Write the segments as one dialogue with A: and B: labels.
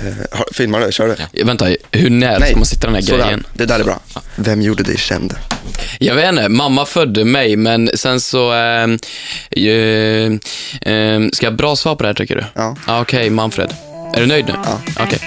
A: Eh, har- filmar du? Kör du?
B: Eh, Vänta, hur nära ska man sitta den här
A: sådär.
B: grejen?
A: Det där är bra. Vem gjorde dig känd?
B: Jag vet inte, mamma födde mig, men sen så... ehm, eh, ehm, ska jag ha bra svar på det här, tycker du?
A: Ja.
B: Ah, Okej, Manfred. Är du nöjd nu?
A: Ja.
B: Okej.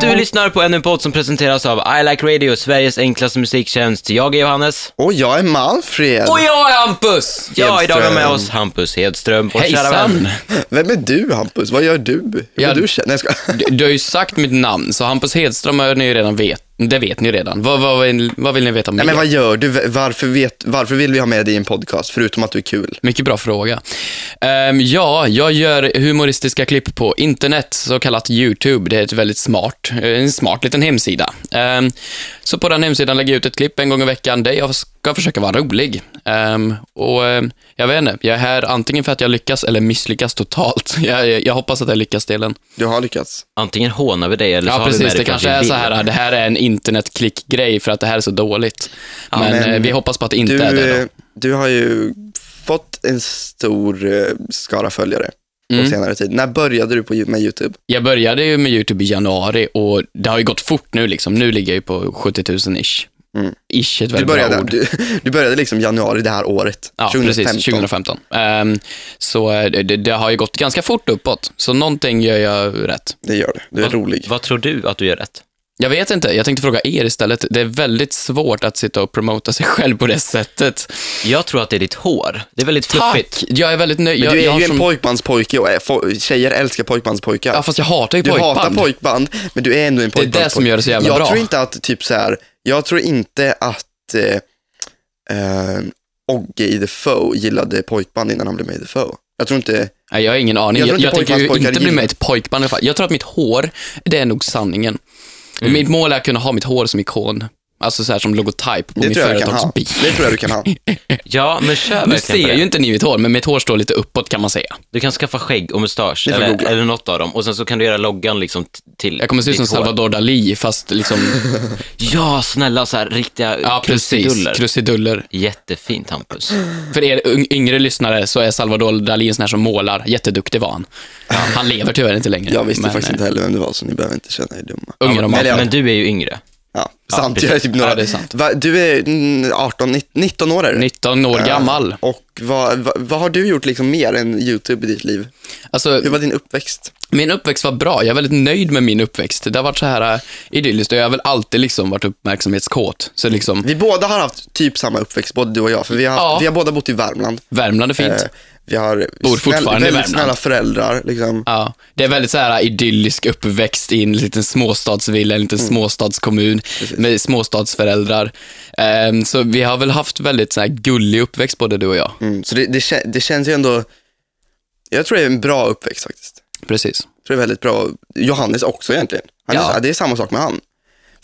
C: Du lyssnar på ännu en podd som presenteras av I Like Radio, Sveriges enklaste musiktjänst. Jag är Johannes.
A: Och jag är Manfred.
B: Och jag är Hampus!
C: Ja, idag har vi med
A: Hedström.
C: oss Hampus Hedström, vår kära vän.
B: Hejsan!
A: Vem är du Hampus? Vad gör du? Hur
B: Jag-
A: mår du känd? Nej, jag skojar.
B: Du, du har ju sagt mitt namn, så Hampus Hedström har ni ju redan vet. Det vet ni ju redan. Vad, vad, vill- vad vill ni veta mer?
A: Nej, men vad gör du? Varför, vet, varför vill vi ha med dig i en podcast? Förutom att du är kul.
B: Mycket bra fråga. Ehm, ja, jag gör humoristiska klipp på internet, så kallat YouTube. Det är ett väldigt smart, eh, en smart liten hemsida. Ehm, så på den hemsidan lägger jag ut ett klipp en gång i veckan där jag ska försöka vara rolig. Ehm, och ehm, jag vet inte, jag är här antingen för att jag lyckas eller misslyckas totalt. Jag, jag, jag hoppas att jag lyckas delen.
A: Du har lyckats.
C: Antingen hånar vi dig eller så
B: Ja,
C: har vi med
B: precis.
C: dig
B: Det
C: för att
B: kanske
C: vi
B: är
C: vill.
B: så här, det här är en internetklick-grej för att det här är så dåligt. men
A: men
B: eh, vi hoppas på att det inte
A: Du,
B: är det då.
A: eh, du har ju fått en stor eh, skara följare
B: Mm.
A: på senare tid. När började du på, med YouTube?
B: Jag började ju med YouTube i januari och det har ju gått fort nu liksom. Nu ligger jag ju på 70 000 ish.
A: Mm.
B: Ish är ett
A: Du
B: väldigt bra
A: började,
B: ord.
A: du, du började liksom januari det här året,
B: Ja,
A: 2015.
B: precis. 2015. Ehm, så eh, det, det har ju gått ganska fort uppåt, så någonting gör jag rätt.
A: Det gör du. Du är
C: Vad-
A: rolig.
C: Vad tror du att du gör rätt?
B: Jag vet inte, jag tänkte fråga er istället. Det är väldigt svårt att sitta och promota sig själv på det sättet.
C: Jag tror att det är ditt hår. Det är väldigt fluffigt.
B: Tack! Jag är väldigt nöjd.
A: Men
B: jag,
A: du är
B: jag har
A: ju en
B: som-
A: pojkmanspojke och är, fo- tjejer älskar pojkmanspojkar.
B: Ja, fast jag hatar ju
A: Du
B: pojkband.
A: hatar pojkband, men du är ändå en
B: det
A: pojkband.
B: som gör det så jävla
A: jag
B: bra.
A: Tror inte att, typ så här, jag tror inte att eh, eh, Ogge i The Foe gillade pojkband innan han blev med i The Foe. Jag tror inte,
B: Nej, jag har ingen aning.
A: Jag
B: Jag,
A: tror
B: jag,
A: inte
B: tänker ju
A: pojkbandspojkar
B: inte bli
A: gillar-
B: med i ett pojkband i alla fall. Jag tror att mitt hår, det är nog sanningen.
A: Mm.
B: Mitt mål är att kunna ha mitt hår som ikon. Alltså så här som logotyp
A: det
B: på min
A: tror jag du kan ha.
B: företagsbil.
A: Det tror jag du kan ha.
C: Ja, men kör
B: Nu
C: verkligen på
B: ser
C: det.
B: ju inte ni mitt hår, men mitt hår står lite uppåt kan man säga.
C: Du kan skaffa skägg och mustasch,
A: får googla.
C: eller, eller något av dem. Och sen så kan du göra loggan liksom t- till
B: Jag kommer se ut som
C: ditt hår.
B: Salvador Dalí, fast liksom,
C: Ja, snälla, så här riktiga
B: ja precis,
C: krusiduller.
B: krusiduller.
C: Jättefint, Hampus.
B: För er un- yngre lyssnare så är Salvador Dalí en sån här som målar. Jätteduktig var han. Han lever tyvärr inte längre.
A: Jag visste
B: men,
A: faktiskt
B: eh,
A: inte heller vem du var, så ni behöver inte känna er dumma.
B: Unga
C: Ja,
B: de
C: men,
B: har.
C: men du är ju yngre.
A: Ja, sant,
C: precis.
A: jag är typ några,
B: Ja, det är sant.
A: Va, du är mm, 18, 19, 19 år är du. Eh,
B: 19 år gammal.
A: Och vad, vad, vad har du gjort liksom mer än YouTube i ditt liv?
B: Alltså,
A: Hur var din uppväxt?
B: Min uppväxt var bra. Jag är väldigt nöjd med min uppväxt. Det har varit så här äh, idylliskt och jag har väl alltid liksom varit uppmärksamhetskåt. Så liksom,
A: Vi båda har haft typ samma uppväxt, både du och jag, för vi har, haft,
B: Ja.
A: vi har båda bott i Värmland.
B: Värmland är fint.
A: Eh, Vi har
B: Bor fortfarande i
A: väldigt
B: Värmland.
A: snälla föräldrar. Liksom.
B: Ja, det är väldigt så här äh, idyllisk uppväxt i en liten småstadsvilla, en liten
A: Mm.
B: småstadskommun med småstadsföräldrar. Ehm, så vi har väl haft väldigt så här gullig uppväxt både du och jag.
A: Mm, så det, det, kä- det känns ju ändå, jag tror det är en bra uppväxt faktiskt.
B: Precis.
A: Jag tror det är väldigt bra. Johannes också egentligen. Han
B: Ja.
A: är, det är samma sak med han.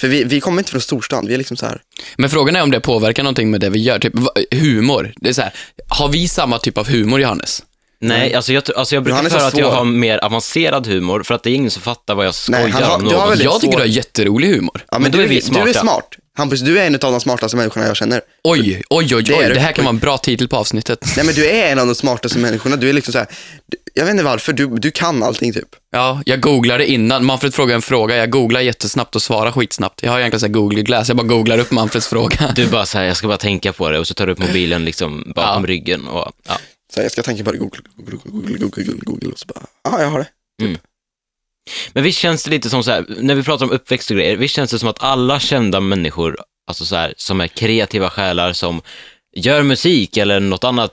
A: För vi, vi kommer inte från storstan, vi är liksom så här.
B: Men frågan är om det påverkar någonting med det vi gör. Typ va- humor. Det är så här, har vi samma typ av humor, Johannes?
C: Nej, alltså jag, tr- alltså jag brukar
A: Johannes har
C: föra att jag
A: svår.
C: har mer avancerad humor, för att det är ingen som fattar vad jag skojar
A: han har-
C: om.
A: du har
C: något.
A: väl- Väldigt
B: jag tycker
A: svår.
B: du har jätterolig humor.
A: Ja,
C: Men då
A: du,
C: är vi
A: Du är
C: smarta.
A: smart. Hampus, du är en av de smartaste människorna jag känner.
B: Oj, oj, oj,
A: är
B: oj.
A: du.
B: Det här kan vara en bra titel på avsnittet.
A: Nej men du är en av de smartaste människorna. Du är liksom så här. du- jag vet inte varför, du, du kan allting typ.
B: Ja, jag googlade innan. Manfred frågade en fråga. Jag googlar jättesnabbt och svarar skitsnabbt. Jag har egentligen så här Google Glass. Jag bara googlar upp Manfreds fråga.
C: Du bara så här, jag ska bara tänka på det, och så tar du upp mobilen liksom bakom ryggen och, ja.
A: Så här, jag ska tänka på det, google, google, google, google, google, google och så bara, ja ah, jag har det.
C: Men visst känns det lite som så här, när vi pratar om uppväxt och grejer, visst känns det som att alla kända människor, alltså så här, som är kreativa själar, som gör musik eller något annat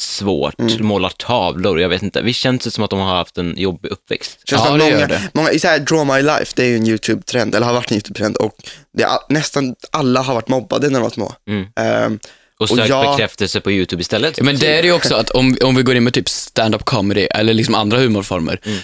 C: svårt,
A: Mm.
C: målar tavlor, jag vet inte. Visst känns det som att de har haft en jobbig uppväxt?
A: Känns
B: Ja,
A: som att
B: det
A: många,
B: gör det.
A: många, så här, Draw My Life, det är ju en YouTube-trend, eller har varit en YouTube-trend och det är, all- nästan alla har varit mobbade när de var små.
C: Mm.
A: Ehm,
C: Och
A: Och
C: sökt
A: jag-
C: bekräftelse på YouTube istället? Typ.
B: Men det är ju också att om, om vi går in med typ stand-up comedy eller liksom andra humorformer.
A: Mm.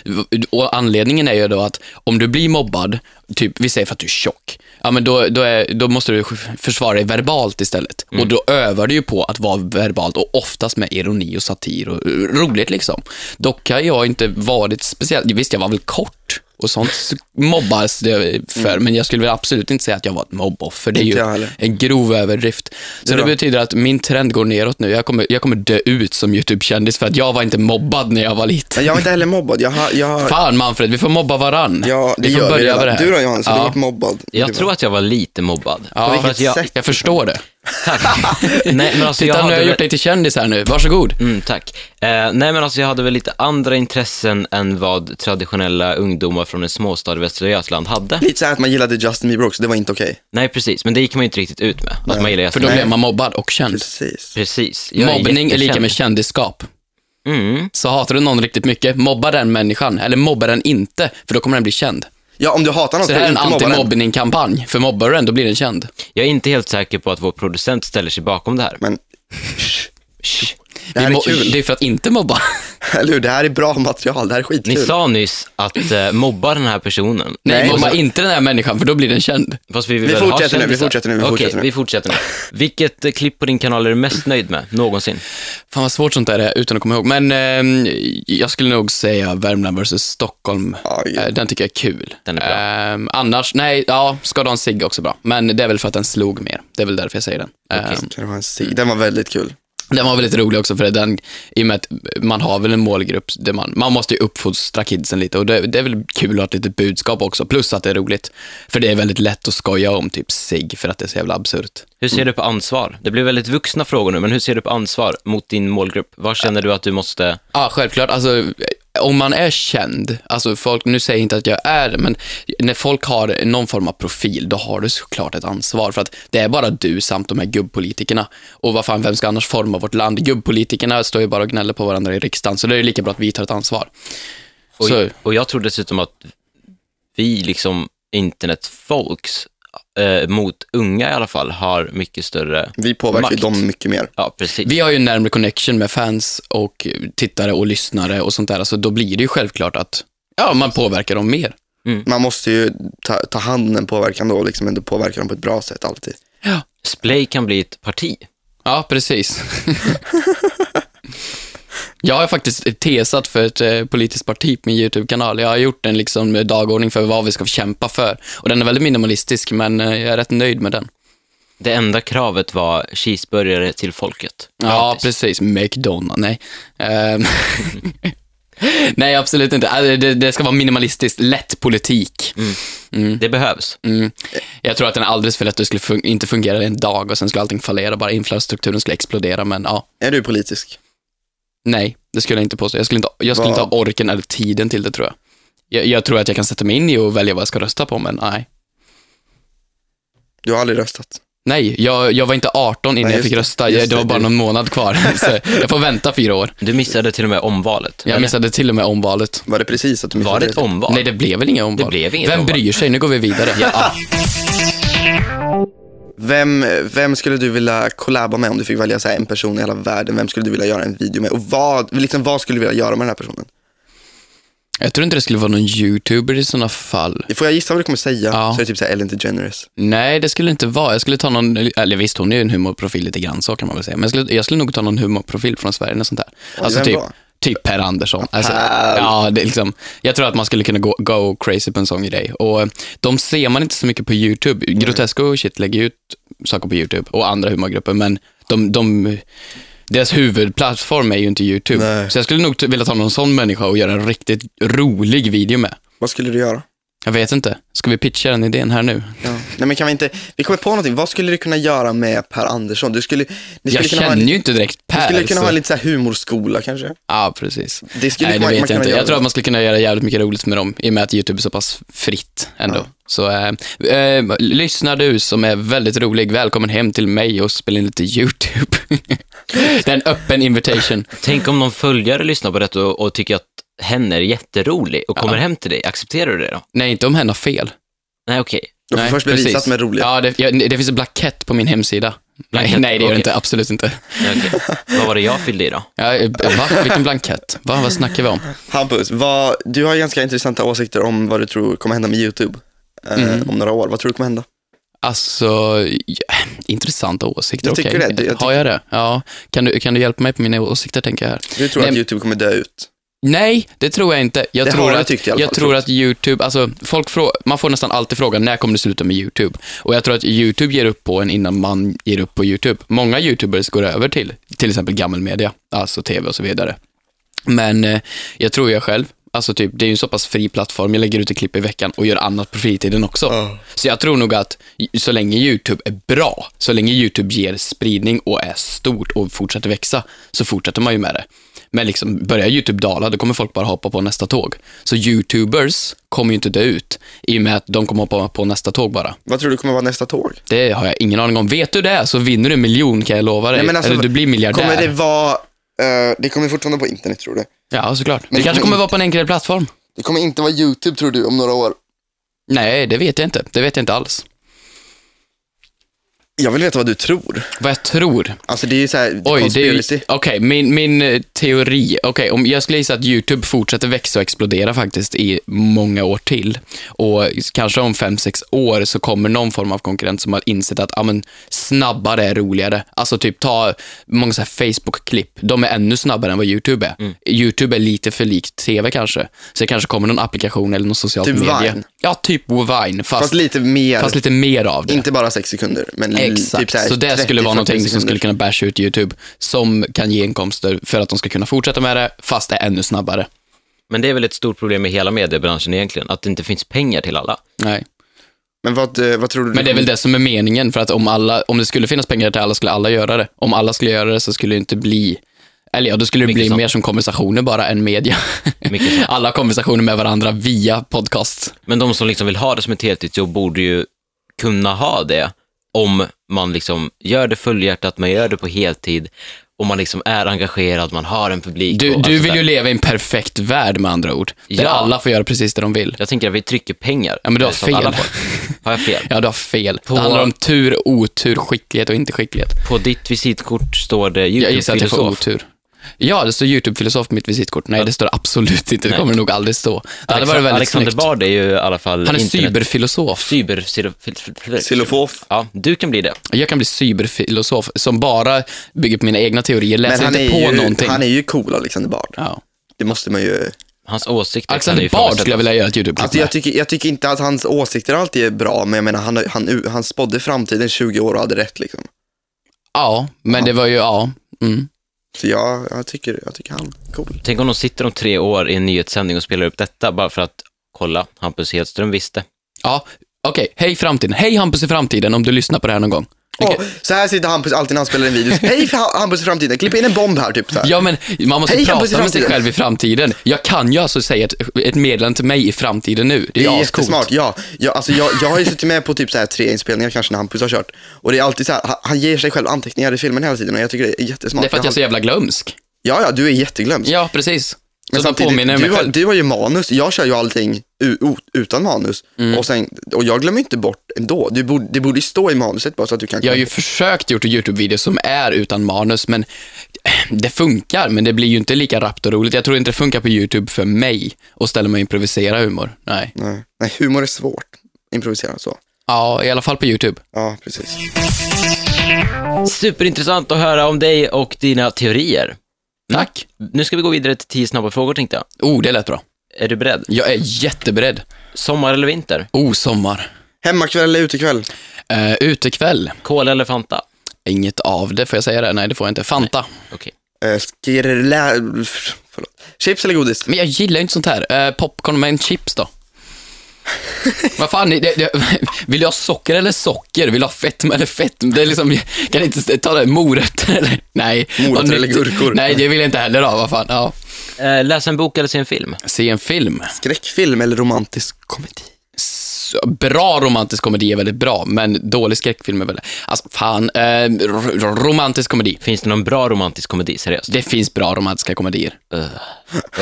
B: Och anledningen är ju då att om du blir mobbad, typ vi säger för att du är tjock, ja men då, då, är, då måste du försvara dig verbalt istället.
A: Mm.
B: Och då övar du ju på att vara verbalt och oftast med ironi och satir och eh, roligt liksom. Dock har jag inte varit speciellt, visst jag var väl kort och sånt så mobbas det för. Men jag skulle väl absolut inte säga att jag var ett mobboffer. Det
A: Mm.
B: är
A: Inte jag
B: ju
A: heller.
B: en grov överdrift. Så
A: Det
B: det
A: då?
B: betyder att min trend går neråt nu. Jag kommer, jag kommer dö ut som YouTube-kändis för att jag var inte mobbad när jag var liten.
A: Men jag är inte heller mobbad. Jag har, jag har,
B: Fan Manfred, vi får mobba varann.
A: ja, det
B: vi får
A: gör vi
B: börja med det
A: redan.
B: här.
A: Du då Johannes, har du
B: Ja.
A: varit mobbad?
C: Jag tror att jag var lite mobbad.
A: På
B: Ja, för
A: vilket
B: att jag,
A: sätt?
B: jag förstår det.
C: Tack. Nej, men alltså,
B: Titta,
C: jag
B: nu
C: hade
B: har jag
C: väl-
B: gjort dig till kändis här nu. Varsågod.
C: Mm, tack. Eh, nej men alltså jag hade väl lite andra intressen än vad traditionella ungdomar från en småstad i Västra Götaland hade.
A: Lite såhär att man gillade Justin Bieber också, det var inte okej.
C: Nej precis, men det gick man ju inte riktigt ut med. Att man gillar
B: För
C: Justin
B: då
C: Bieber.
B: blev man mobbad och känd.
A: Precis.
C: Precis. Jag
B: Mobbning är lika
C: jättekänd.
B: med kändisskap.
C: Mm.
B: Så hatar du någon riktigt mycket, mobba den människan, eller mobba den inte, för då kommer den bli känd.
A: Ja, om du hatar någon
B: Så det här är en
A: du inte mobba den.
B: antimobbning-kampanj, för mobbar du den, då blir den känd.
C: Jag är inte helt säker på att vår producent ställer sig bakom det här.
A: Men,
C: Shh.
A: det här
B: Vi
A: är
B: mo-
A: kul.
B: det är för att inte mobba.
A: Eller hur? Det här är bra material, det här är
C: Ni
A: skitkul.
C: sa nyss att eh, mobba den här personen.
B: Nej,
A: Nej,
B: mobba
A: så-
B: inte den här människan, för då blir den känd.
C: Fast vi vill
A: Vi
C: väl ha
A: fortsätter nu, vi
C: kändisar.
A: fortsätter nu, vi
C: Okej,
A: fortsätter nu.
C: vi fortsätter nu. Vilket eh, klipp på din kanal är du mest nöjd med någonsin?
B: Fan vad svårt sånt där är utan att komma ihåg. Men ehm, jag skulle nog säga Värmland vs Stockholm.
A: Ja, ja.
B: Eh, den tycker jag är kul.
C: Den är bra.
B: Ehm, annars, nej, ja, Skada en cigg är också bra. Men det är väl för att den slog mer. Det är väl därför jag säger den. Ehm,
A: Kan det vara en sig? Den var väldigt kul.
B: Den var väldigt rolig också, för den, i och med att man har väl en målgrupp där man, man måste ju uppfostra kidsen lite och det, det är väl kul att ha ett litet budskap också, plus att det är roligt. För det är väldigt lätt att skoja om typ sig för att det är så jävla absurt.
C: Hur ser du på ansvar? Det blir väldigt vuxna frågor nu, men hur ser du på ansvar mot din målgrupp? Vad känner du att du måste...
B: Ja, självklart. Alltså, om man är känd, alltså folk, nu säger jag inte att jag är det, men när folk har någon form av profil, då har du såklart ett ansvar. För att det är bara du samt de här gubbpolitikerna. Och vad fan, vem ska annars forma vårt land? Gubbpolitikerna står ju bara och gnäller på varandra i riksdagen, så det är ju lika bra att vi tar ett ansvar.
C: Och,
B: Så-
C: och jag tror dessutom att vi, liksom internetfolks, eh, mot unga i alla fall, har mycket större...
A: Vi påverkar ju
C: Makt.
A: dem mycket mer.
C: Ja, precis.
B: Vi har ju en närmare connection med fans och tittare och lyssnare och sånt där, så då blir det ju självklart att ja, man påverkar dem mer.
A: Man måste ju ta, ta hand om den påverkan då och liksom ändå påverka dem på ett bra sätt alltid.
C: Splay kan bli ett parti.
B: Ja, precis. Jag har faktiskt tesat för ett eh, politiskt parti på min YouTube-kanal. Jag har gjort en liksom, dagordning för vad vi ska kämpa för. Och den är väldigt minimalistisk, men eh, jag är rätt nöjd med den.
C: Det enda kravet var cheeseburgare till folket.
B: Ja, precis. McDonald's. Nej. Ehm. Nej, absolut inte. Alltså, Det, det ska vara minimalistiskt, lätt politik.
C: Mm. Det behövs.
B: Mm. Jag tror att den är alldeles för lätt. Det skulle fun- inte fungera en dag och sen skulle allting fallera. Bara infrastrukturen skulle explodera, men ja.
A: Är du politisk?
B: Nej, det skulle jag inte påstå. Jag skulle inte, jag skulle
A: Vad-
B: inte ha orken eller tiden till det, tror jag. jag. Jag tror att jag kan sätta mig in i och välja vad jag ska rösta på, men nej.
A: Du har aldrig röstat.
B: Nej, jag, jag var inte 18 innan
A: Nej,
B: jag fick
A: just det.
B: rösta.
A: Just
B: Jag, det
A: det,
B: var bara
A: det-
B: någon månad kvar. Så jag får vänta fyra år.
C: Du missade till och med omvalet.
B: Jag
C: eller?
B: missade till och med omvalet.
A: Var det precis att du
C: Var
A: missade
C: det ett omval?
B: Nej, det blev väl inga omval?
C: Det blev inget
B: Vem
C: omval.
B: bryr sig? Nu går vi vidare. Ja.
A: Vem, vem skulle du vilja collaba med om du fick välja så här, en person i hela världen? Vem skulle du vilja göra en video med? Och vad, liksom, vad skulle du vilja göra med den här personen?
B: Jag tror inte det skulle vara någon youtuber i sådana fall.
A: Får jag gissa vad du kommer säga?
B: Ja.
A: Så är det typ så här Ellen DeGeneres.
B: Nej, det skulle det inte vara. Jag skulle ta någon, eller visst, hon är ju en humorprofil lite grann, så kan man väl säga. Men jag skulle, jag skulle nog ta någon humorprofil från Sverige, eller sånt där. Alltså
A: vem
B: typ,
A: då?
B: typ Per Andersson. Alltså, ja, det är liksom, jag tror att man skulle kunna gå, go crazy på en sån grej. Och eh, de ser man inte så mycket på YouTube. Grotesco och shit lägger ut saker på YouTube och andra humorgrupper, men de, de, deras huvudplattform är ju inte YouTube.
A: Nej.
B: Så jag skulle nog t- vilja ta någon sån människa och göra en riktigt rolig video med.
A: Vad skulle du göra?
B: Jag vet inte. Ska vi pitcha den idén här nu?
A: Ja. Nej men kan vi inte, vi kommer på någonting. Vad skulle du kunna göra med Per Andersson? Du skulle, ni skulle
B: Jag
A: kunna ha
B: känner
A: en,
B: ju inte direkt Per.
A: du skulle kunna
B: så-
A: ha lite så här humorskola kanske?
B: Ja, precis.
A: Det skulle
B: Nej, det
A: man,
B: vet
A: man
B: jag
A: kunna
B: inte.
A: göra.
B: Jag tror att man skulle kunna göra jävligt mycket roligt med dem, i och med att YouTube är så pass fritt ändå. Så, eh, eh, lyssnar du som är väldigt rolig, välkommen hem till mig och spela in lite YouTube. det är en öppen invitation.
C: Tänk om någon följare lyssnar på detta och, och tycker att hen är jätterolig och kommer
B: Ja.
C: hem till dig. Accepterar du det då?
B: Nej, inte om hen har fel.
C: Nej, okej.
A: Du får
B: Nej,
A: först bevisa
B: precis.
A: att de är roliga.
B: Ja, det, jag, det finns en blankett på min hemsida. Nej,
C: Blankett,
B: nej, det gör det
C: okej.
B: inte. Absolut inte.
C: Nej, okej. Vad var det jag fyllde i då?
B: Ja, eh, va? Vilken blankett? Va? Vad snackar vi om?
A: Hampus, vad, du har ganska intressanta åsikter om vad du tror kommer hända med YouTube eh,
B: Mm.
A: om några år. Vad tror du kommer hända?
B: Alltså, ja, intressanta åsikter.
A: Jag tycker
B: okej.
A: det. Jag
B: Har jag det? Ja. Kan du, kan du hjälpa mig på mina åsikter, tänker jag här.
A: Du tror
B: Nej,
A: att
B: men-
A: YouTube kommer dö ut?
B: Nej, det tror jag inte. Jag
A: Det har
B: tror
A: jag
B: att,
A: tyckt i alla
B: jag
A: fall,
B: tror
A: förut.
B: att YouTube, alltså folk frå- man får nästan alltid frågan när kommer du sluta med YouTube? Och jag tror att YouTube ger upp på en innan man ger upp på YouTube. Många YouTubers går över till till exempel gammal media, alltså TV och så vidare. Men eh, jag tror jag själv, alltså typ, det är ju en så pass fri plattform, jag lägger ut ett klipp i veckan och gör annat på fritiden också.
A: Ja.
B: Så jag tror nog att j- så länge YouTube är bra, så länge YouTube ger spridning och är stort och fortsätter växa, så fortsätter man ju med det. Men liksom, börjar YouTube dala, då kommer folk bara hoppa på nästa tåg. Så YouTubers kommer ju inte dö ut, i och med att de kommer hoppa på nästa tåg bara.
A: Vad tror du kommer vara nästa tåg?
B: Det har jag ingen aning om. Vet du det, så vinner du en miljon kan jag lova dig.
A: Nej, men alltså,
B: Eller du blir miljardär.
A: Kommer det vara, eh, det kommer fortfarande vara på internet tror du?
B: Ja, såklart.
A: Men
B: det
A: kommer
B: kanske kommer
A: inte-
B: vara på en enklare plattform.
A: Det kommer inte vara YouTube tror du om några år?
B: Nej, det vet jag inte. Det vet jag inte alls.
A: Jag vill veta vad du tror.
B: Vad jag tror.
A: Alltså det är ju såhär,
B: Oj, det är ju...
A: conspiracy.
B: Okej, min, min eh, teori. Okej, om jag skulle gissa att YouTube fortsätter växa och explodera faktiskt i många år till. Och s- kanske om 5-6 år så kommer någon form av konkurrent som har insett att ah, men, snabbare är roligare. Alltså typ ta många så här Facebook-klipp. De är ännu snabbare än vad YouTube är.
A: Mm.
B: YouTube är lite för likt TV kanske. Så det kanske kommer någon applikation eller någon socialt
A: Typ
B: medie.
A: Vine.
B: Ja, typ Vine. Fast,
A: Fast lite mer,
B: fast lite mer av det.
A: inte bara sex sekunder, men l-
B: Exakt,
A: typ såhär
B: så det skulle vara
A: 30-40
B: någonting som skulle
A: sekunder.
B: kunna basha ut YouTube, som kan ge inkomster för att de ska kunna fortsätta med det, fast det är ännu snabbare.
C: Men det är väl ett stort problem i hela mediebranschen egentligen, att det inte finns pengar till alla.
B: Nej.
A: Men vad, eh, vad tror du?
B: Men det är väl det som är meningen, för att om, alla, om det skulle finnas pengar till alla skulle alla göra det. Om alla skulle göra det så skulle det inte bli, eller ja, då skulle det
C: Mycket
B: bli
C: sant.
B: mer som konversationer bara än media.
C: Mycket sant.
B: alla konversationer med varandra via podcast.
C: Men de som liksom vill ha det som ett heltidsjobb borde ju kunna ha det om man liksom gör det fullhjärtat, man gör det på heltid, och man liksom är engagerad, man har en publik.
B: Du,
C: och allt
B: du
C: sånt
B: vill
C: där.
B: ju leva i en perfekt värld med andra ord, där
C: alltså Ja.
B: alla får göra precis det de vill.
C: Jag tänker att vi trycker pengar.
B: Ja, men du har
C: så att alla
B: fel.
C: får- Har jag fel?
B: Ja, du har fel.
C: På-
B: Det handlar om tur, otur, skicklighet och inte skicklighet.
C: På ditt visitkort står det
B: Jag gissar att jag får
C: YouTube-filosof.
B: otur. Ja, det står YouTube-filosof på mitt visitkort. Nej, det står absolut inte. Det
C: Nej.
B: kommer det nog aldrig stå. Det hade varit väldigt
C: Alexander
B: snyggt.
C: Bard är ju i alla fall
B: Han är
C: internet-
B: cyberfilosof.
C: cyber... cyber- fil- fil-
A: Silofof.
C: Ja, du kan bli det.
B: Jag kan bli cyberfilosof som bara bygger på mina egna teorier.
A: Men
B: Läser
A: han
B: inte på
A: är, ju,
B: någonting.
A: han är ju cool Alexander Bard.
B: Ja.
A: Det måste man ju...
C: Hans åsikter kan
B: Alexander
C: ju
B: Bard
C: ifrågasättas.
B: skulle jag vilja göra ett YouTube-klipp
A: Alltså jag tycker, jag tycker inte att hans åsikter alltid är bra, men jag menar han, han, han spådde framtiden 20 år och hade rätt liksom.
B: med. Ja, men det var ju, ja. Mm.
A: Så jag, jag, tycker, jag tycker han är cool.
C: Tänk om de sitter om tre år i en nyhetssändning och spelar upp detta bara för att kolla, Hampus Hedström visste.
B: Ja, okej. Hej framtiden. Hej Hampus i framtiden om du lyssnar på det här någon gång.
A: Åh, så här sitter Hampus alltid när han spelar en video. Hej för Hampus i framtiden, klipp in en bomb här typ så här.
B: Ja, men man måste
A: Hej, Hampus i
B: prata med sig
A: framtiden.
B: själv i framtiden. Jag kan ju alltså säga ett, ett meddelande till mig i framtiden nu. Det är,
A: Det är
B: ascoolt.
A: jättesmart, ja. Jag, alltså jag, jag har ju suttit med på typ så här tre inspelningar kanske när Hampus har kört. Och det är alltid så här, han, han ger sig själv anteckningar i filmen hela tiden och jag tycker det är jättesmart.
B: Det är för att jag är så jävla glömsk.
A: Ja, ja, du är jätteglömsk.
B: Ja, precis.
A: Men
B: så de påminner mig
A: du, har,
B: själv.
A: du har ju manus, jag kör ju allting u- o- utan manus.
B: Mm.
A: Och, sen, och jag glömmer inte bort ändå. Du borde, det borde ju stå i manuset bara så att du kan
B: Jag har ju försökt gjort YouTube-videos som är utan manus, men det funkar, men det blir ju inte lika rappt och roligt. Jag tror inte det funkar på YouTube för mig att ställa mig och improvisera humor. Nej.
A: Nej. Nej, humor är svårt. Improvisera så.
B: Ja, i alla fall på YouTube.
A: Ja, precis.
C: Superintressant att höra om dig och dina teorier.
A: Mm.
B: Tack.
C: Nu ska vi gå vidare till tio snabba frågor tänkte jag.
B: Oh, det lät bra.
C: Är du beredd?
B: Jag är jätteberedd.
C: Sommar eller vinter?
B: Oh, sommar.
A: Hemmakväll eller utekväll?
B: Uh, utekväll.
C: Cola eller Fanta?
B: Inget av det, får jag säga det? Nej, det får jag inte. Fanta.
C: Okej.
A: Eh, skrlä... Förlåt. Chips eller godis?
B: Men jag gillar ju inte sånt här. Eh, popcorn med en chips då. Vad fan, är det, det, vill du ha socker eller socker? Vill du ha fett eller fett? Det är liksom, kan inte ta det, morötter eller? Nej.
A: Morötter
B: Vad nytt-
A: eller gurkor?
B: Nej, det vill jag inte heller ha, vad fan. Ja.
C: Eh, läsa en bok eller se en film?
B: Se en film.
A: Skräckfilm eller romantisk komedi?
B: S- Bra romantisk komedi är väldigt bra, men dålig skräckfilm är väl... Alltså, fan. Eh, r- r- romantisk komedi.
C: Finns det någon bra romantisk komedi? Seriöst?
B: Det finns bra romantiska komedier.
C: Ugh.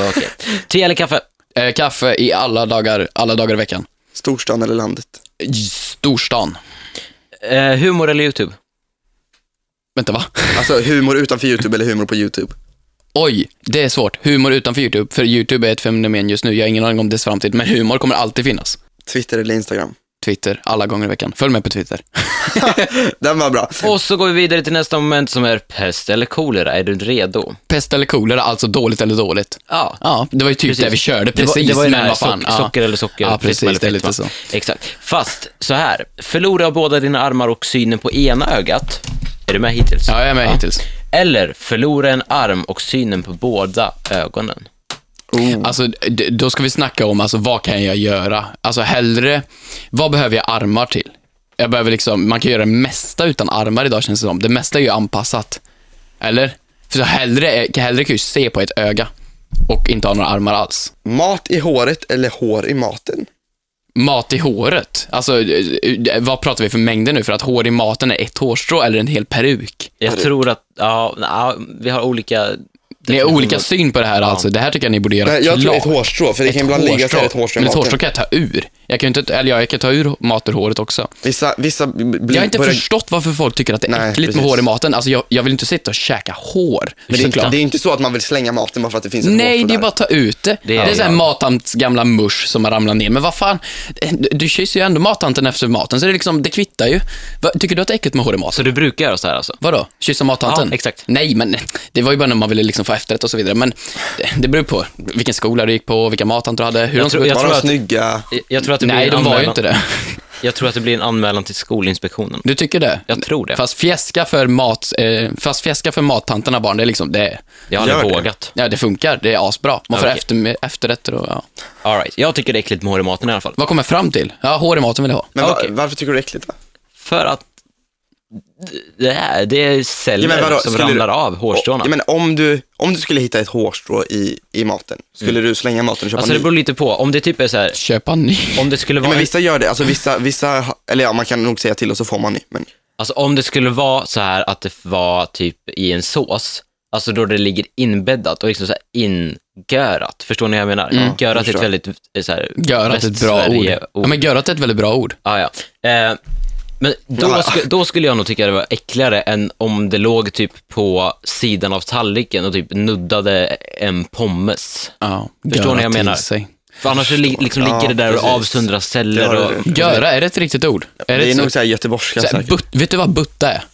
C: Okej. Te eller kaffe?
B: Eh, kaffe i alla dagar, alla dagar i veckan.
A: Storstan eller landet?
B: Eh, Storstan.
C: Eh, humor eller YouTube?
B: Vänta, va?
A: Alltså humor utanför YouTube eller humor på YouTube?
B: Oj, det är svårt. Humor utanför YouTube, för YouTube är ett fenomen just nu. Jag har ingen aning om dess framtid, men humor kommer alltid finnas.
A: Twitter eller Instagram?
B: Twitter alla gånger i veckan. Följ med på Twitter.
A: Den var bra.
C: Och så går vi vidare till nästa moment som är pest eller kolera. Är du redo?
B: Pest eller kolera, alltså dåligt eller dåligt.
C: Ja.
B: Ja, det var ju typ
C: Precis.
B: det vi körde
C: Det var-
B: precis,
C: det var ju det
B: men
C: här,
B: vad fan.
C: sock-
B: ja.
C: socker eller socker,
B: Ja,
C: fritt
B: precis,
C: eller
B: det är
C: fritt,
B: lite
C: va?
B: så.
C: Exakt. Fast så här, förlora båda dina armar och synen på ena ögat. Är du med hittills?
B: Ja, jag är med hittills.
C: Eller förlora en arm och synen på båda ögonen.
A: Oh.
B: Alltså, d- då ska vi snacka om, alltså, vad kan jag göra? Alltså hellre, vad behöver jag armar till? Jag behöver liksom, man kan göra det mesta utan armar idag känns det som. Det mesta är ju anpassat. Eller? För så hellre, är- hellre kan jag ju se på ett öga och inte ha några armar alls.
A: Mat i håret eller hår i maten?
B: Mat i håret. Alltså, eh, vad pratar vi för mängder nu? För att hår i maten är ett hårstrå eller en hel peruk.
C: Jag tror att, ja, ja, vi har olika...
B: Ni har olika syn på det här alltså. Det här tycker jag ni borde göra
A: Nej, jag
B: klart.
A: tror ett hårstrå, för det kan ibland ligga så här ett hårstrå i
B: Men ett
A: maten.
B: hårstrå kan jag ta ur. Jag kan ju inte, eller ja, jag kan ta ur mat ur håret också.
A: Vissa, vissa blir...
B: Jag har inte
A: börjar-
B: förstått varför folk tycker att det är
A: Mm, Nej,
B: äckligt med
A: precis.
B: hår i maten. Alltså jag, jag vill inte sitta och käka hår.
A: Men det, är inte,
B: såklart.
A: det är inte så att man vill slänga maten bara för att det finns ett
B: Nej,
A: hårstrå
B: det är
A: där.
B: bara att ta ut det. Det
C: Det
B: är,
C: är-
B: det
C: ja.
B: matants gamla musch som har ramlat ner. Men vad fan, du, du kysser ju ändå mattanten efter maten, så det, är liksom, det kvittar ju. Va, tycker du att det är äckligt med hår i maten?
C: Så du brukar göra så här alltså?
B: Vadå? Kyssa mattanten?
C: Ja, exakt.
B: Nej, men det var ju bara när man ville liksom få efterrätt och så vidare. Men det, det beror på vilken skola du gick på, vilka mattanter du hade, hur de
C: tror-
B: såg ut.
C: jag
A: Bara de
C: tror att-
A: snygga...
C: Jag- Jag tror att det blir
B: Nej,
C: en
B: de var ju
C: anmälan-
B: inte det.
C: Jag tror att det blir en anmälan till Skolinspektionen.
B: Du tycker det?
C: Jag tror det.
B: Fast fjäska för mat, eh, fast fjäska för mattanterna barn, det är liksom, det,
C: Jag hade
A: Gör det.
C: vågat.
B: ja, det funkar, det är asbra. Man får
C: Okej.
B: efter, efterrätter och ja.
C: All right. Jag tycker det är äckligt med hår i maten i alla fall.
B: Vad kommer jag fram till? Ja, hår i maten vill jag ha.
A: Men va,
C: Okej.
A: varför tycker du det är äckligt då?
C: För att d- det är, det är celler
A: Ja, men vadå,
C: som
A: skulle
C: ramlar
A: du-
C: av hårstråna.
A: Ja, men om, du, om du skulle hitta ett hårstrå i, i maten, skulle du slänga maten och köpa
C: alltså
A: ny?
C: det beror lite på. Om det typ är så här,
B: Köpa en ny.
C: om det skulle
A: Ja,
C: vara,
A: men vissa gör det, alltså vissa, vissa, ha- eller ja, man kan nog säga till och så får man ny. Men
C: alltså, om det skulle vara så här att det var typ i en sås, alltså då det ligger inbäddat och liksom så här ingörat. Förstår ni vad jag menar? görat är ett
A: förstår.
C: väldigt eh, så här,
B: Görat är ett bra ord.
C: Västsverige-
B: Ja, men görat är ett väldigt bra ord.
C: Ah, ja. eh, men då,
A: Ja.
C: sku, då skulle jag nog tycka det var äckligare än om det låg typ på sidan av tallriken och typ nuddade en pommes.
B: Ja,
C: Förstår ni vad jag
B: görat i
C: menar?
B: sig.
C: För annars så li, liksom ligger
A: Ja,
C: det där och
A: precis.
C: avsöndrar
A: Det
C: celler
A: har
C: och...
A: du.
B: Göra, är det ett riktigt ord?
A: det,
B: Är det
A: är
B: ett
A: nog
B: så,
A: så här göteborgska
B: så här,
A: säkert.
B: but, vet du vad butta är?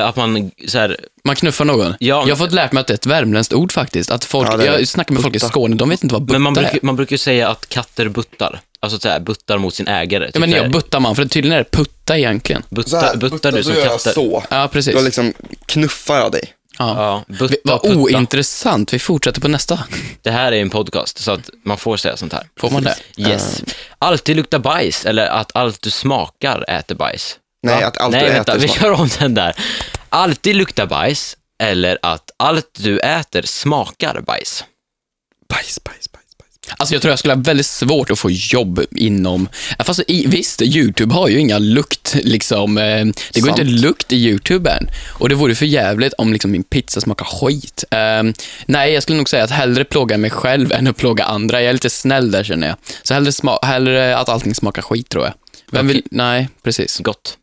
C: Eh, att man så här,
B: Man knuffar någon.
C: Ja, men-
B: jag har fått lärt mig att det är ett värmländskt ord faktiskt. Att folk,
A: Ja, det är det.
B: jag snackar med folk i
A: Butta.
B: Skåne, de vet inte vad butta
C: men man, brukar-
B: är.
C: man brukar ju säga att katter buttar. Alltså så här, buttar mot sin ägare.
B: Ja, men
C: Typ så
B: jag
C: här,
B: buttar man, för tydligen är det putta egentligen.
A: Så
C: butta,
A: här,
C: buttar du som
A: då gör jag
C: katter.
A: så.
B: Ja, precis.
A: Då liksom knuffar jag dig.
B: Ja.
C: Ja, butta,
B: Vad
C: putta.
B: ointressant. Vi fortsätter på nästa.
C: Det här är ju en podcast, så att man får säga sånt här.
B: Får man det?
C: Yes. Alltid lukta bajs, eller att allt du smakar äter bajs.
A: Nej,
C: Va?
A: att allt
C: Nej,
A: du
C: vänta,
A: äter
C: vi
A: smakar.
C: kör om den där. Alltid lukta bajs, eller att allt du äter smakar bajs.
A: Bajs, bajs, bajs, bajs.
B: Alltså jag tror jag skulle ha väldigt svårt att få jobb inom, Ja, fast i, visst, YouTube har ju inga lukt liksom, eh, det går
A: Sant.
B: inte lukt i YouTube än. Och det vore för jävligt om liksom min pizza smakar skit. Eh, nej, jag skulle nog säga att hellre plåga mig själv än att plåga andra. Jag är lite snäll där känner jag. Så hellre, sma- hellre att allting smakar skit tror jag. Vem vill, nej, precis.
C: Gott.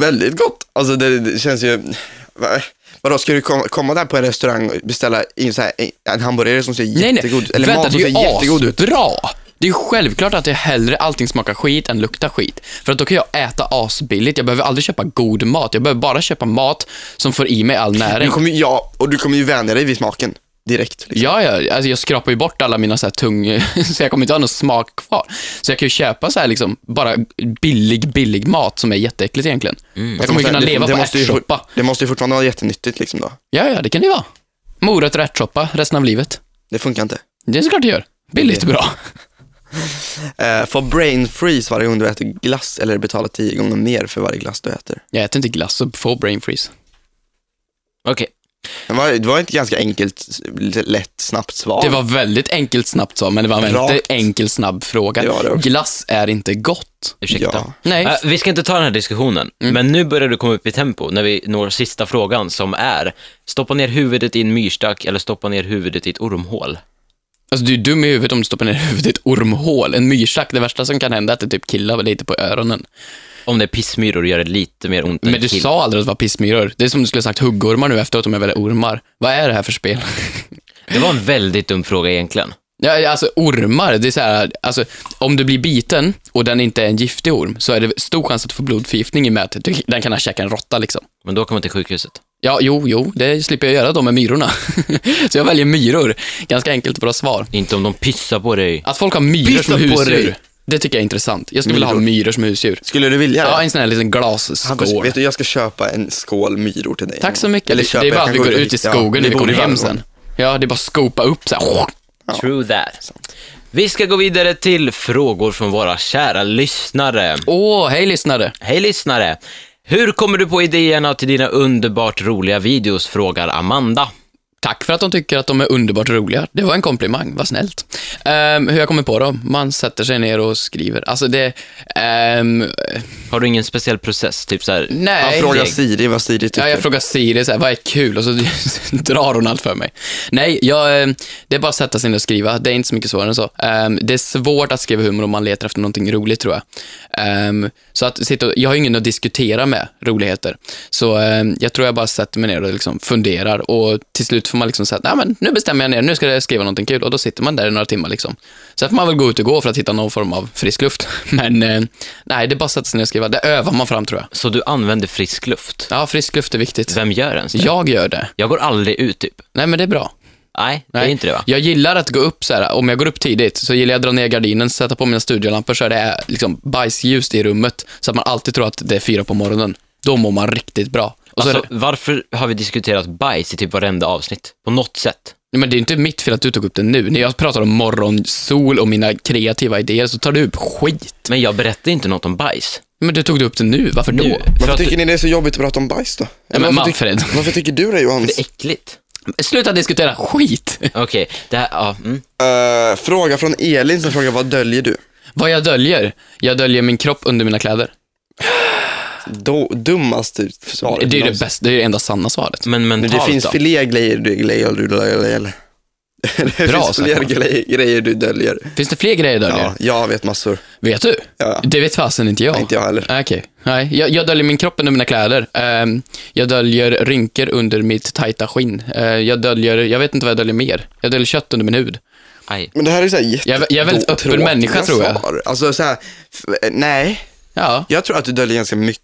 A: Väldigt gott. Alltså det, det känns ju... Va- Vadå, ska du kom- komma där på en restaurang och beställa in så här, en hamburgare som ser
B: Nej, nej,
A: jättegod eller
B: vänta,
A: mat
B: det
A: som
B: är
A: ser
B: ju
A: jättegod ut?
B: asbra. Det är ju självklart att jag hellre allting smakar skit än luktar skit. För att då kan jag äta asbilligt, jag behöver aldrig köpa god mat. Jag behöver bara köpa mat som får i mig all
A: Du
B: näring.
A: kommer, ju- ja, och du kommer ju vänja dig vid smaken direkt. Liksom.
B: Ja, ja, alltså jag skrapar ju bort alla mina så här tung, så jag kommer inte ha någon smak kvar. Så jag kan ju köpa så här liksom, bara billig, billig mat som är jätteäckligt egentligen. Jag kommer ju kunna
A: Det-
B: leva
A: det
B: på
A: Mm. måste ju for-
B: ärtsoppa.
A: Det måste ju fortfarande vara jättenyttigt liksom då.
B: Ja, ja, det kan det ju vara. Morötter och ärtsoppa resten av livet.
A: Det funkar inte.
B: Det är såklart det gör. Billigt och bra.
A: Eh, få brain freeze varje gång du äter glass eller betala tio gånger mer för varje glass du äter.
B: Jag äter inte glass och får brain freeze.
C: Okej.
A: Det var, det var ett ganska enkelt, s- lite lätt, snabbt svar.
B: Det var väldigt enkelt snabbt så, men det var en
A: Rakt.
B: väldigt enkel snabb fråga.
A: Det var det också.
B: Glass är inte gott. Äh,
C: Ursäkta.
A: Ja. Mm.
B: Nej.
C: Eh, vi ska inte ta den här diskussionen, men nu börjar du komma upp i tempo när vi når sista frågan som är stoppa ner huvudet i en myrstack eller stoppa ner huvudet i ett ormhål.
B: Alltså du är dum i huvudet om du stoppar ner huvudet i ett ormhål. En myrstack, det värsta som kan hända är att det typ killar lite på öronen.
C: Om det är pissmyror gör det lite mer ont än
B: Men du
C: kill.
B: sa aldrig att det var pissmyror. Det är som du skulle ha sagt huggormar nu efteråt om jag väljer ormar. Vad är det här för spel?
C: Det var en väldigt dum fråga egentligen.
B: Ja, alltså ormar, det är så här, alltså, om du blir biten och den inte är en giftig orm så är det stor chans att du får blodförgiftning i och med att du, den kan ha käkat en råtta liksom.
C: Men då kommer man till sjukhuset.
B: Ja, jo, jo, det slipper jag göra då med myrorna. så jag väljer myror. Ganska enkelt och bra svar.
C: Inte om de pissar på dig.
B: Att folk har myror
A: Pissa
B: som
A: på
B: husdjur,
A: dig.
B: det tycker jag är intressant. Jag skulle vilja ha
A: Myror.
B: myror som husdjur.
A: Skulle du vilja
B: Ja,
A: det?
B: en sån här liten
A: Hampus,
B: glasskål.
A: vet du, jag ska köpa en skål myror till dig.
B: Tack så mycket.
A: Eller
B: Det
A: köpa,
B: det är bara
A: jag
B: att vi
A: kan
B: går
A: gå
B: ut i
A: dit, ja.
B: skogen
A: Vi
B: när vi
A: bor
B: kommer
A: i
B: hem
A: Värmland.
B: sen. Ja, det är bara att skopa upp så här.
C: True that. Vi ska gå vidare till frågor från våra kära lyssnare.
B: Åh, hej lyssnare.
C: Hej lyssnare! Hur kommer du på idéerna till dina underbart roliga videos? frågar Amanda.
B: Tack för att de tycker att de är underbart roliga. Det var en komplimang, vad snällt. Ehm, hur jag kommer på dem? Man sätter sig ner och skriver. Alltså det... ehm,
C: Har du ingen speciell process? Typ så här,
B: nej.
A: Han frågar
B: Jag-
A: Siri vad Siri tycker.
B: Ja, jag frågar Siri så här, vad är kul? Och så drar hon allt för mig. Nej, jag, eh, det är bara att sätta sig ner och skriva. Det är inte så mycket svårare än så. Ehm, det är svårt att skriva humor om man letar efter någonting roligt, tror jag. Ehm, så att sitta och, jag har ingen att diskutera med roligheter. Så ehm, jag tror jag bara sätter mig ner och liksom funderar. Och till slut får man liksom säga, nej men nu bestämmer jag ner, nu ska jag skriva någonting kul. Och då sitter man där i några timmar liksom. Sen får man väl gå ut och gå för att hitta någon form av frisk luft. Men eh, nej, det är bara att sätta sig ner och skriva. Det övar man fram, tror jag.
C: så du använder frisk luft?
B: Ja, frisk luft är viktigt.
C: Vem gör ens det?
B: Jag gör det.
C: Jag går aldrig ut typ.
B: Nej, men det är bra.
C: Nej, det
B: Nej.
C: är inte det va?
B: Jag gillar att gå upp så här. om jag går upp tidigt så gillar jag att dra ner gardinen, sätta på mina studiolampor så är det liksom bajsljust i rummet. Så att man alltid tror att det är fyra på morgonen. Då mår man riktigt bra. Och så är
C: Alltså, varför har vi diskuterat bajs i typ varenda avsnitt? På något sätt.
B: det, men det är inte mitt fel att du tog upp det nu. När jag pratar om morgonsol och mina kreativa idéer så tar du upp skit.
C: Men jag berättar inte något om bajs.
B: Men du tog det upp det nu, varför då?
C: Nu. För
A: Varför
C: att
A: tycker
C: det
A: ni det är så jobbigt att prata om bajs då?
B: Nej, men
A: varför, tyck-
B: Manfred,
A: varför tycker du det Johans?
C: är äckligt.
B: sluta diskutera skit.
C: Okej, det här, ja. Mm.
A: Eh, fråga från Elin som frågar vad döljer du?
B: Vad jag döljer? Jag döljer min kropp under mina kläder.
A: Då, dummaste
B: Det
A: svaret.
B: är ju det
A: någonsin.
B: bästa, det är det enda sanna svaret.
C: Men
A: Men
C: mentalt
A: det finns
C: då?
A: fler grejer du grejer du döljer. Det
B: Bra,
A: finns fler
B: sagt, Martin.
A: gre- grejer du döljer.
B: Finns det fler grejer jag döljer?
A: Ja, jag vet massor.
B: Vet du?
A: Ja, ja.
B: Det vet fasen inte jag.
A: Nej, inte jag heller.
B: Nej, Ah, Okej. Nej, jag, jag döljer min kropp under mina kläder. Ehm, jag döljer rynkor under mitt tajta skinn. Eh, jag döljer, jag vet inte vad jag döljer mer. Jag döljer kött under min hud.
C: Aj.
A: Men det här är så här
B: Jag- jag är väldigt öppen
A: jättetråkiga
B: människa, tror jag.
A: svar. Alltså så här, f- nej.
B: Ja.
A: Jag tror att du döljer ganska mycket.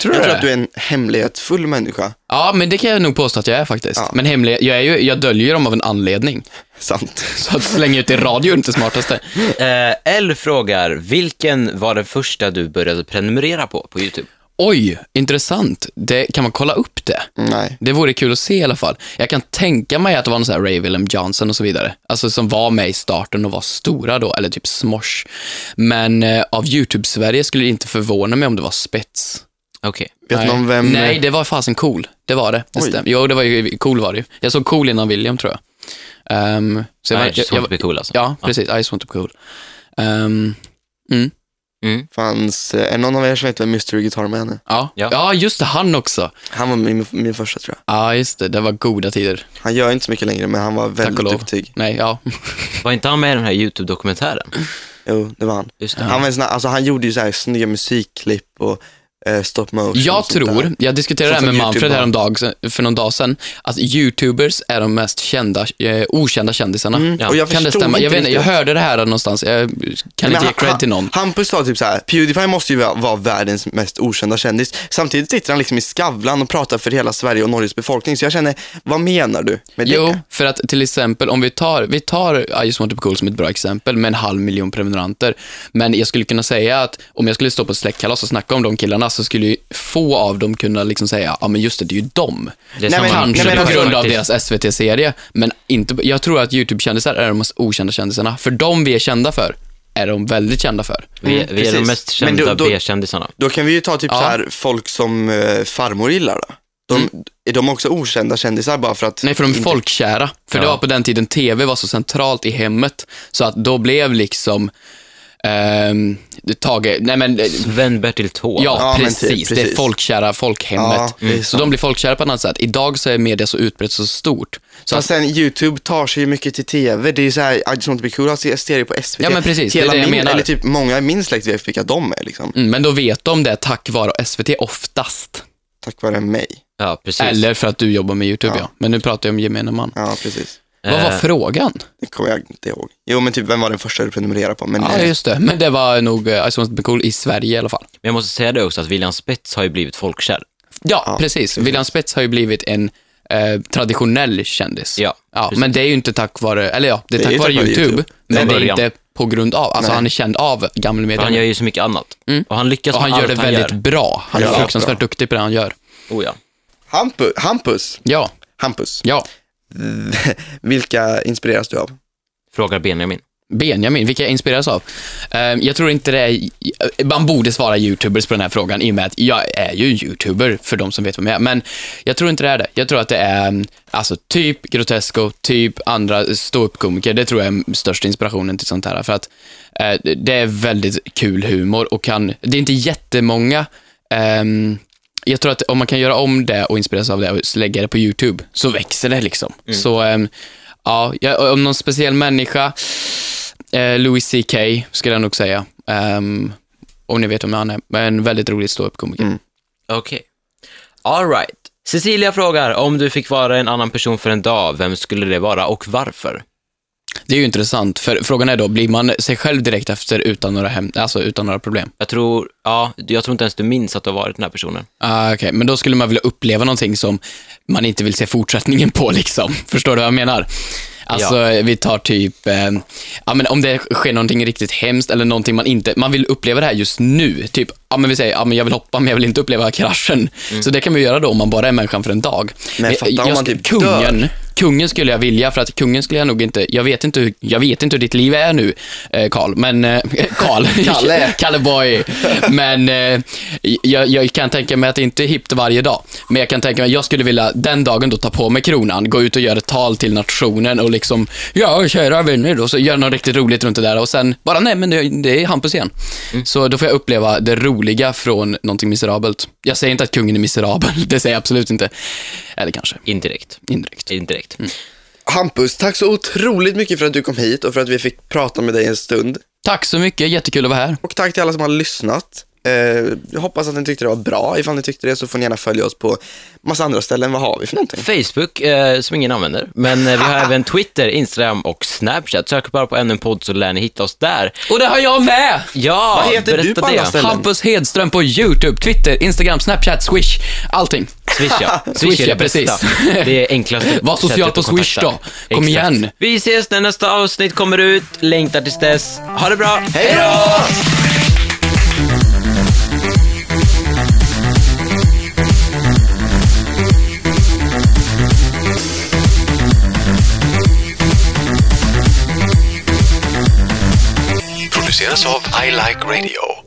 B: Tror du
A: jag tror
B: det?
A: att du är en hemlighetsfull människa.
B: ja, men det kan jag nog påstå att jag är faktiskt.
A: Ja.
B: Men hemlig, jag, är ju, jag döljer dem av en anledning.
A: Sant.
B: Så att slänga ut i radio är inte smartaste.
C: Eh, L frågar, vilken var den första du började prenumerera på, på YouTube?
B: Oj, intressant. Det, kan man kolla upp det?
A: Nej.
B: Det vore kul att se i alla fall. Jag kan tänka mig att det var någon sån här Ray Willem Johnson och så vidare. Alltså som var med i starten och var stora då, eller typ Smosh. Men eh, av YouTube-Sverige skulle det inte förvåna mig om det var Spets.
C: Okej.
A: Vet
B: Nej.
A: någon vem...
B: Nej, det var fasen cool. Det var det. det
A: Oj.
B: stämmer. jo, det var ju, cool var det ju. Jag såg cool innan William tror jag. Ehm, så jag,
C: Okay.
B: var-
C: I just
B: jag,
C: want to
B: jag,
C: be cool alltså.
B: Ja, precis. I just want to be cool. Ehm,
A: Fanns, eh, är någon av er som vet vem Mystery Guitar Man är?
B: ja. Ja.
C: Ja.
B: just det. Han också.
A: Han var min, min första tror jag.
B: Ja, just det. Det var goda tider.
A: Han gör inte så mycket längre, men han var
B: Tack och
A: väldigt
B: lov.
A: duktig.
B: Nej, ja.
C: Var inte han med i den här YouTube-dokumentären?
A: Jo, det var han.
C: Just
A: Han, var en sån här, alltså, han gjorde ju så här snygga musikklipp och eh, stop motion.
B: Jag
A: och sånt där.
B: tror, jag diskuterade det här
A: Sånt
B: med
A: som
B: Manfred
A: YouTuber.
B: häromdag, för någon dag sedan, att YouTubers är de mest kända, eh, okända kändisarna.
A: Mm.
C: Ja.
A: Och jag
B: Kan det
A: förstod
B: stämma? Jag, vet, inte,
A: riktigt.
B: jag hörde det här någonstans, jag kan
A: Men
B: inte ge
A: han-
B: cred till någon.
A: han- Hampus sa typ så här, Pewdiepie måste ju vara- vara världens mest okända kändis. Samtidigt sitter han liksom i Skavlan och pratar för hela Sverige och Norges befolkning. Så jag känner, vad menar du med det?
B: Jo, för att till exempel om vi tar, vi tar I just want to be cool som ett bra exempel med en halv miljon prenumeranter. Men jag skulle kunna säga att om jag skulle stå på ett släktkalas och snacka om de killarna så skulle ju få av dem kunna liksom säga, ja men just det, det är ju dem.
C: Det
A: Nej,
C: är samma-
A: men-
B: Kanske
A: nej, men
B: på
A: alltså-
B: grund av
C: faktiskt.
B: deras SVT-serie, men inte, jag tror att YouTube-kändisar är de mest okända kändisarna. För de vi är kända för, är de väldigt kända för.
C: Vi,
A: Mm,
C: vi är de
A: precis.
C: mest
A: Men
C: kända
A: då- då-
C: B-kändisarna.
A: Då kan vi ju ta typ
B: Ja.
A: så här, folk som eh, farmor gillar då. De, Är de också okända kändisar bara för att...
B: Mm. Nej, för de är
A: inte-
B: folkkära. För det
C: Ja.
B: var på den tiden TV var så centralt i hemmet, så att då blev liksom ehm, Tage, nej men, eh,
C: Sven-Bertil Taube.
B: ja,
A: Ja, men
B: precis,
A: typ,
B: Det är
A: precis.
B: folkkära, folkhemmet.
A: Ja, mm. det är
B: Så
A: sant.
B: de blir folkkära på ett annat sätt. Idag så är media så utbrett, så stort. Så
A: Men
B: att,
A: sen YouTube tar sig ju mycket till TV. Det är ju så här, I just want to be cool har stereo på SVT.
B: Ja, men precis. Det är
A: Hela
B: det jag
A: min,
B: menar.
A: Eller typ många i min släkt vet vilka de är liksom.
B: mm, men då vet de det tack vare SVT oftast.
A: Tack vare mig.
C: Ja, precis.
B: Eller för att du jobbar med YouTube, ja. Men nu pratar jag om gemene man.
A: Ja, precis.
B: Vad var
C: Eh,
B: frågan?
A: Det kommer jag inte ihåg. Jo, men typ vem var den första du prenumererade på? Men,
B: Ja,
A: eh,
B: just det. Men det var nog eh, Ice Wants to be cool i Sverige i alla fall.
C: Men jag måste säga det också, att William Spets har ju blivit folkkär.
B: Ja,
A: Ja,
B: precis. William Spets har ju blivit en eh, traditionell kändis.
C: Ja, precis.
B: men det är ju inte tack vare, eller ja, det är
A: Det
B: tack
A: är
B: vare
A: tack vare
B: YouTube,
A: YouTube.
B: men
C: Från
B: det är
C: början.
B: inte på grund av, alltså
A: Nej.
B: han är känd av gamla
C: För han gör
B: medier.
C: ju så mycket annat.
B: Mm.
C: Och han lyckas
B: Och han
C: med
B: gör
C: allt
B: det väldigt
C: han
B: bra. Han är
A: Ja,
B: fruktansvärt duktig på det han gör.
C: gör. Oh, ja.
A: Hampus, Hampus,
B: Ja,
A: Hampus.
B: ja.
A: Vilka inspireras du av?
C: Frågar Benjamin.
B: Benjamin, vilka jag inspireras av? Eh, jag tror inte det är... Man borde svara YouTubers på den här frågan i och med att jag är ju YouTuber, för de som vet vem jag är. Men jag tror inte det är det. Jag tror att det är mm, alltså, typ Grotesco, typ andra ståuppkomiker. Det tror jag är största inspirationen till sånt här. För att eh, det är väldigt kul humor och kan... Det är inte jättemånga... ehm, jag tror att om man kan göra om det och inspireras av det och lägga det på YouTube, så växer det liksom. Så, ehm, ja, jag, om någon speciell människa, eh, Louis CK skulle jag nog säga. Ehm, om ni vet om han är. En väldigt rolig ståuppkomiker.
C: Okej. Alright. Cecilia frågar, om du fick vara en annan person för en dag, vem skulle det vara och varför?
B: Det är ju intressant, för frågan är då, blir man sig själv direkt efter utan några, hem, alltså utan några problem?
C: Jag tror, ja, jag tror inte ens du minns att du har varit den här personen.
B: Ah, Okej, men då skulle man vilja uppleva någonting som man inte vill se fortsättningen på liksom. Förstår du vad jag menar? Alltså, vi tar typ, eh, ja men om det sker någonting riktigt hemskt eller någonting man inte, man vill uppleva det här just nu. Typ, ja men vi säger, ja men jag vill hoppa men jag vill inte uppleva kraschen. Så det kan man ju göra då om man bara är människan för en dag.
A: Mm. Men
B: Eh,
A: fatta om man
B: sk-
A: typ
B: kungen,
A: dör.
B: Mm. kungen skulle jag vilja, för att kungen skulle jag nog inte, jag vet inte hur, jag vet inte hur ditt liv är nu, eh, Karl, men, eh, Karl,
A: Kalle.
B: Kalle boy. Men eh, jag, jag kan tänka mig att det inte är hippt varje dag. Men jag kan tänka mig, jag skulle vilja den dagen då ta på mig kronan, gå ut och göra ett tal till nationen och liksom, ja kära vänner, och så göra något riktigt roligt runt det där och sen bara, nej men det, det är Hampus igen. Så då får jag uppleva det roliga från någonting miserabelt. Jag säger inte att kungen är miserabel, det säger jag absolut inte. Eller kanske,
C: Indirekt.
B: indirekt.
C: Indirekt.
A: Hampus, tack så otroligt mycket för att du kom hit och för att vi fick prata med dig en stund.
B: Tack så mycket, jättekul att vara här.
A: Och tack till alla som har lyssnat. Eh, jag hoppas att ni tyckte det var bra. Ifall ni tyckte det så får ni gärna följa oss på massa andra ställen. Vad har vi för någonting?
C: Facebook, eh, som ingen använder, men eh, vi har även Twitter, Instagram och Snapchat. Sök bara på ännu en podd så lär ni hitta oss där.
B: Och det har jag med!
C: Ja,
A: Vad heter du
C: berätta
A: på alla
C: det.
A: ställen?
B: Hampus Hedström på YouTube, Twitter, Instagram, Snapchat, Swish, allting.
C: Swish ja. Swish
B: Swish,
C: är det
B: ja,
C: bästa.
B: precis.
C: Det är enklaste
B: Var social
C: sättet
B: på
C: att
B: Swish
C: kontakta.
B: då. Kom
C: Exakt.
B: igen.
C: Vi ses när nästa avsnitt kommer ut. Längtar tills dess. Ha det bra.
A: Hej då!
D: produceras av I Like Radio.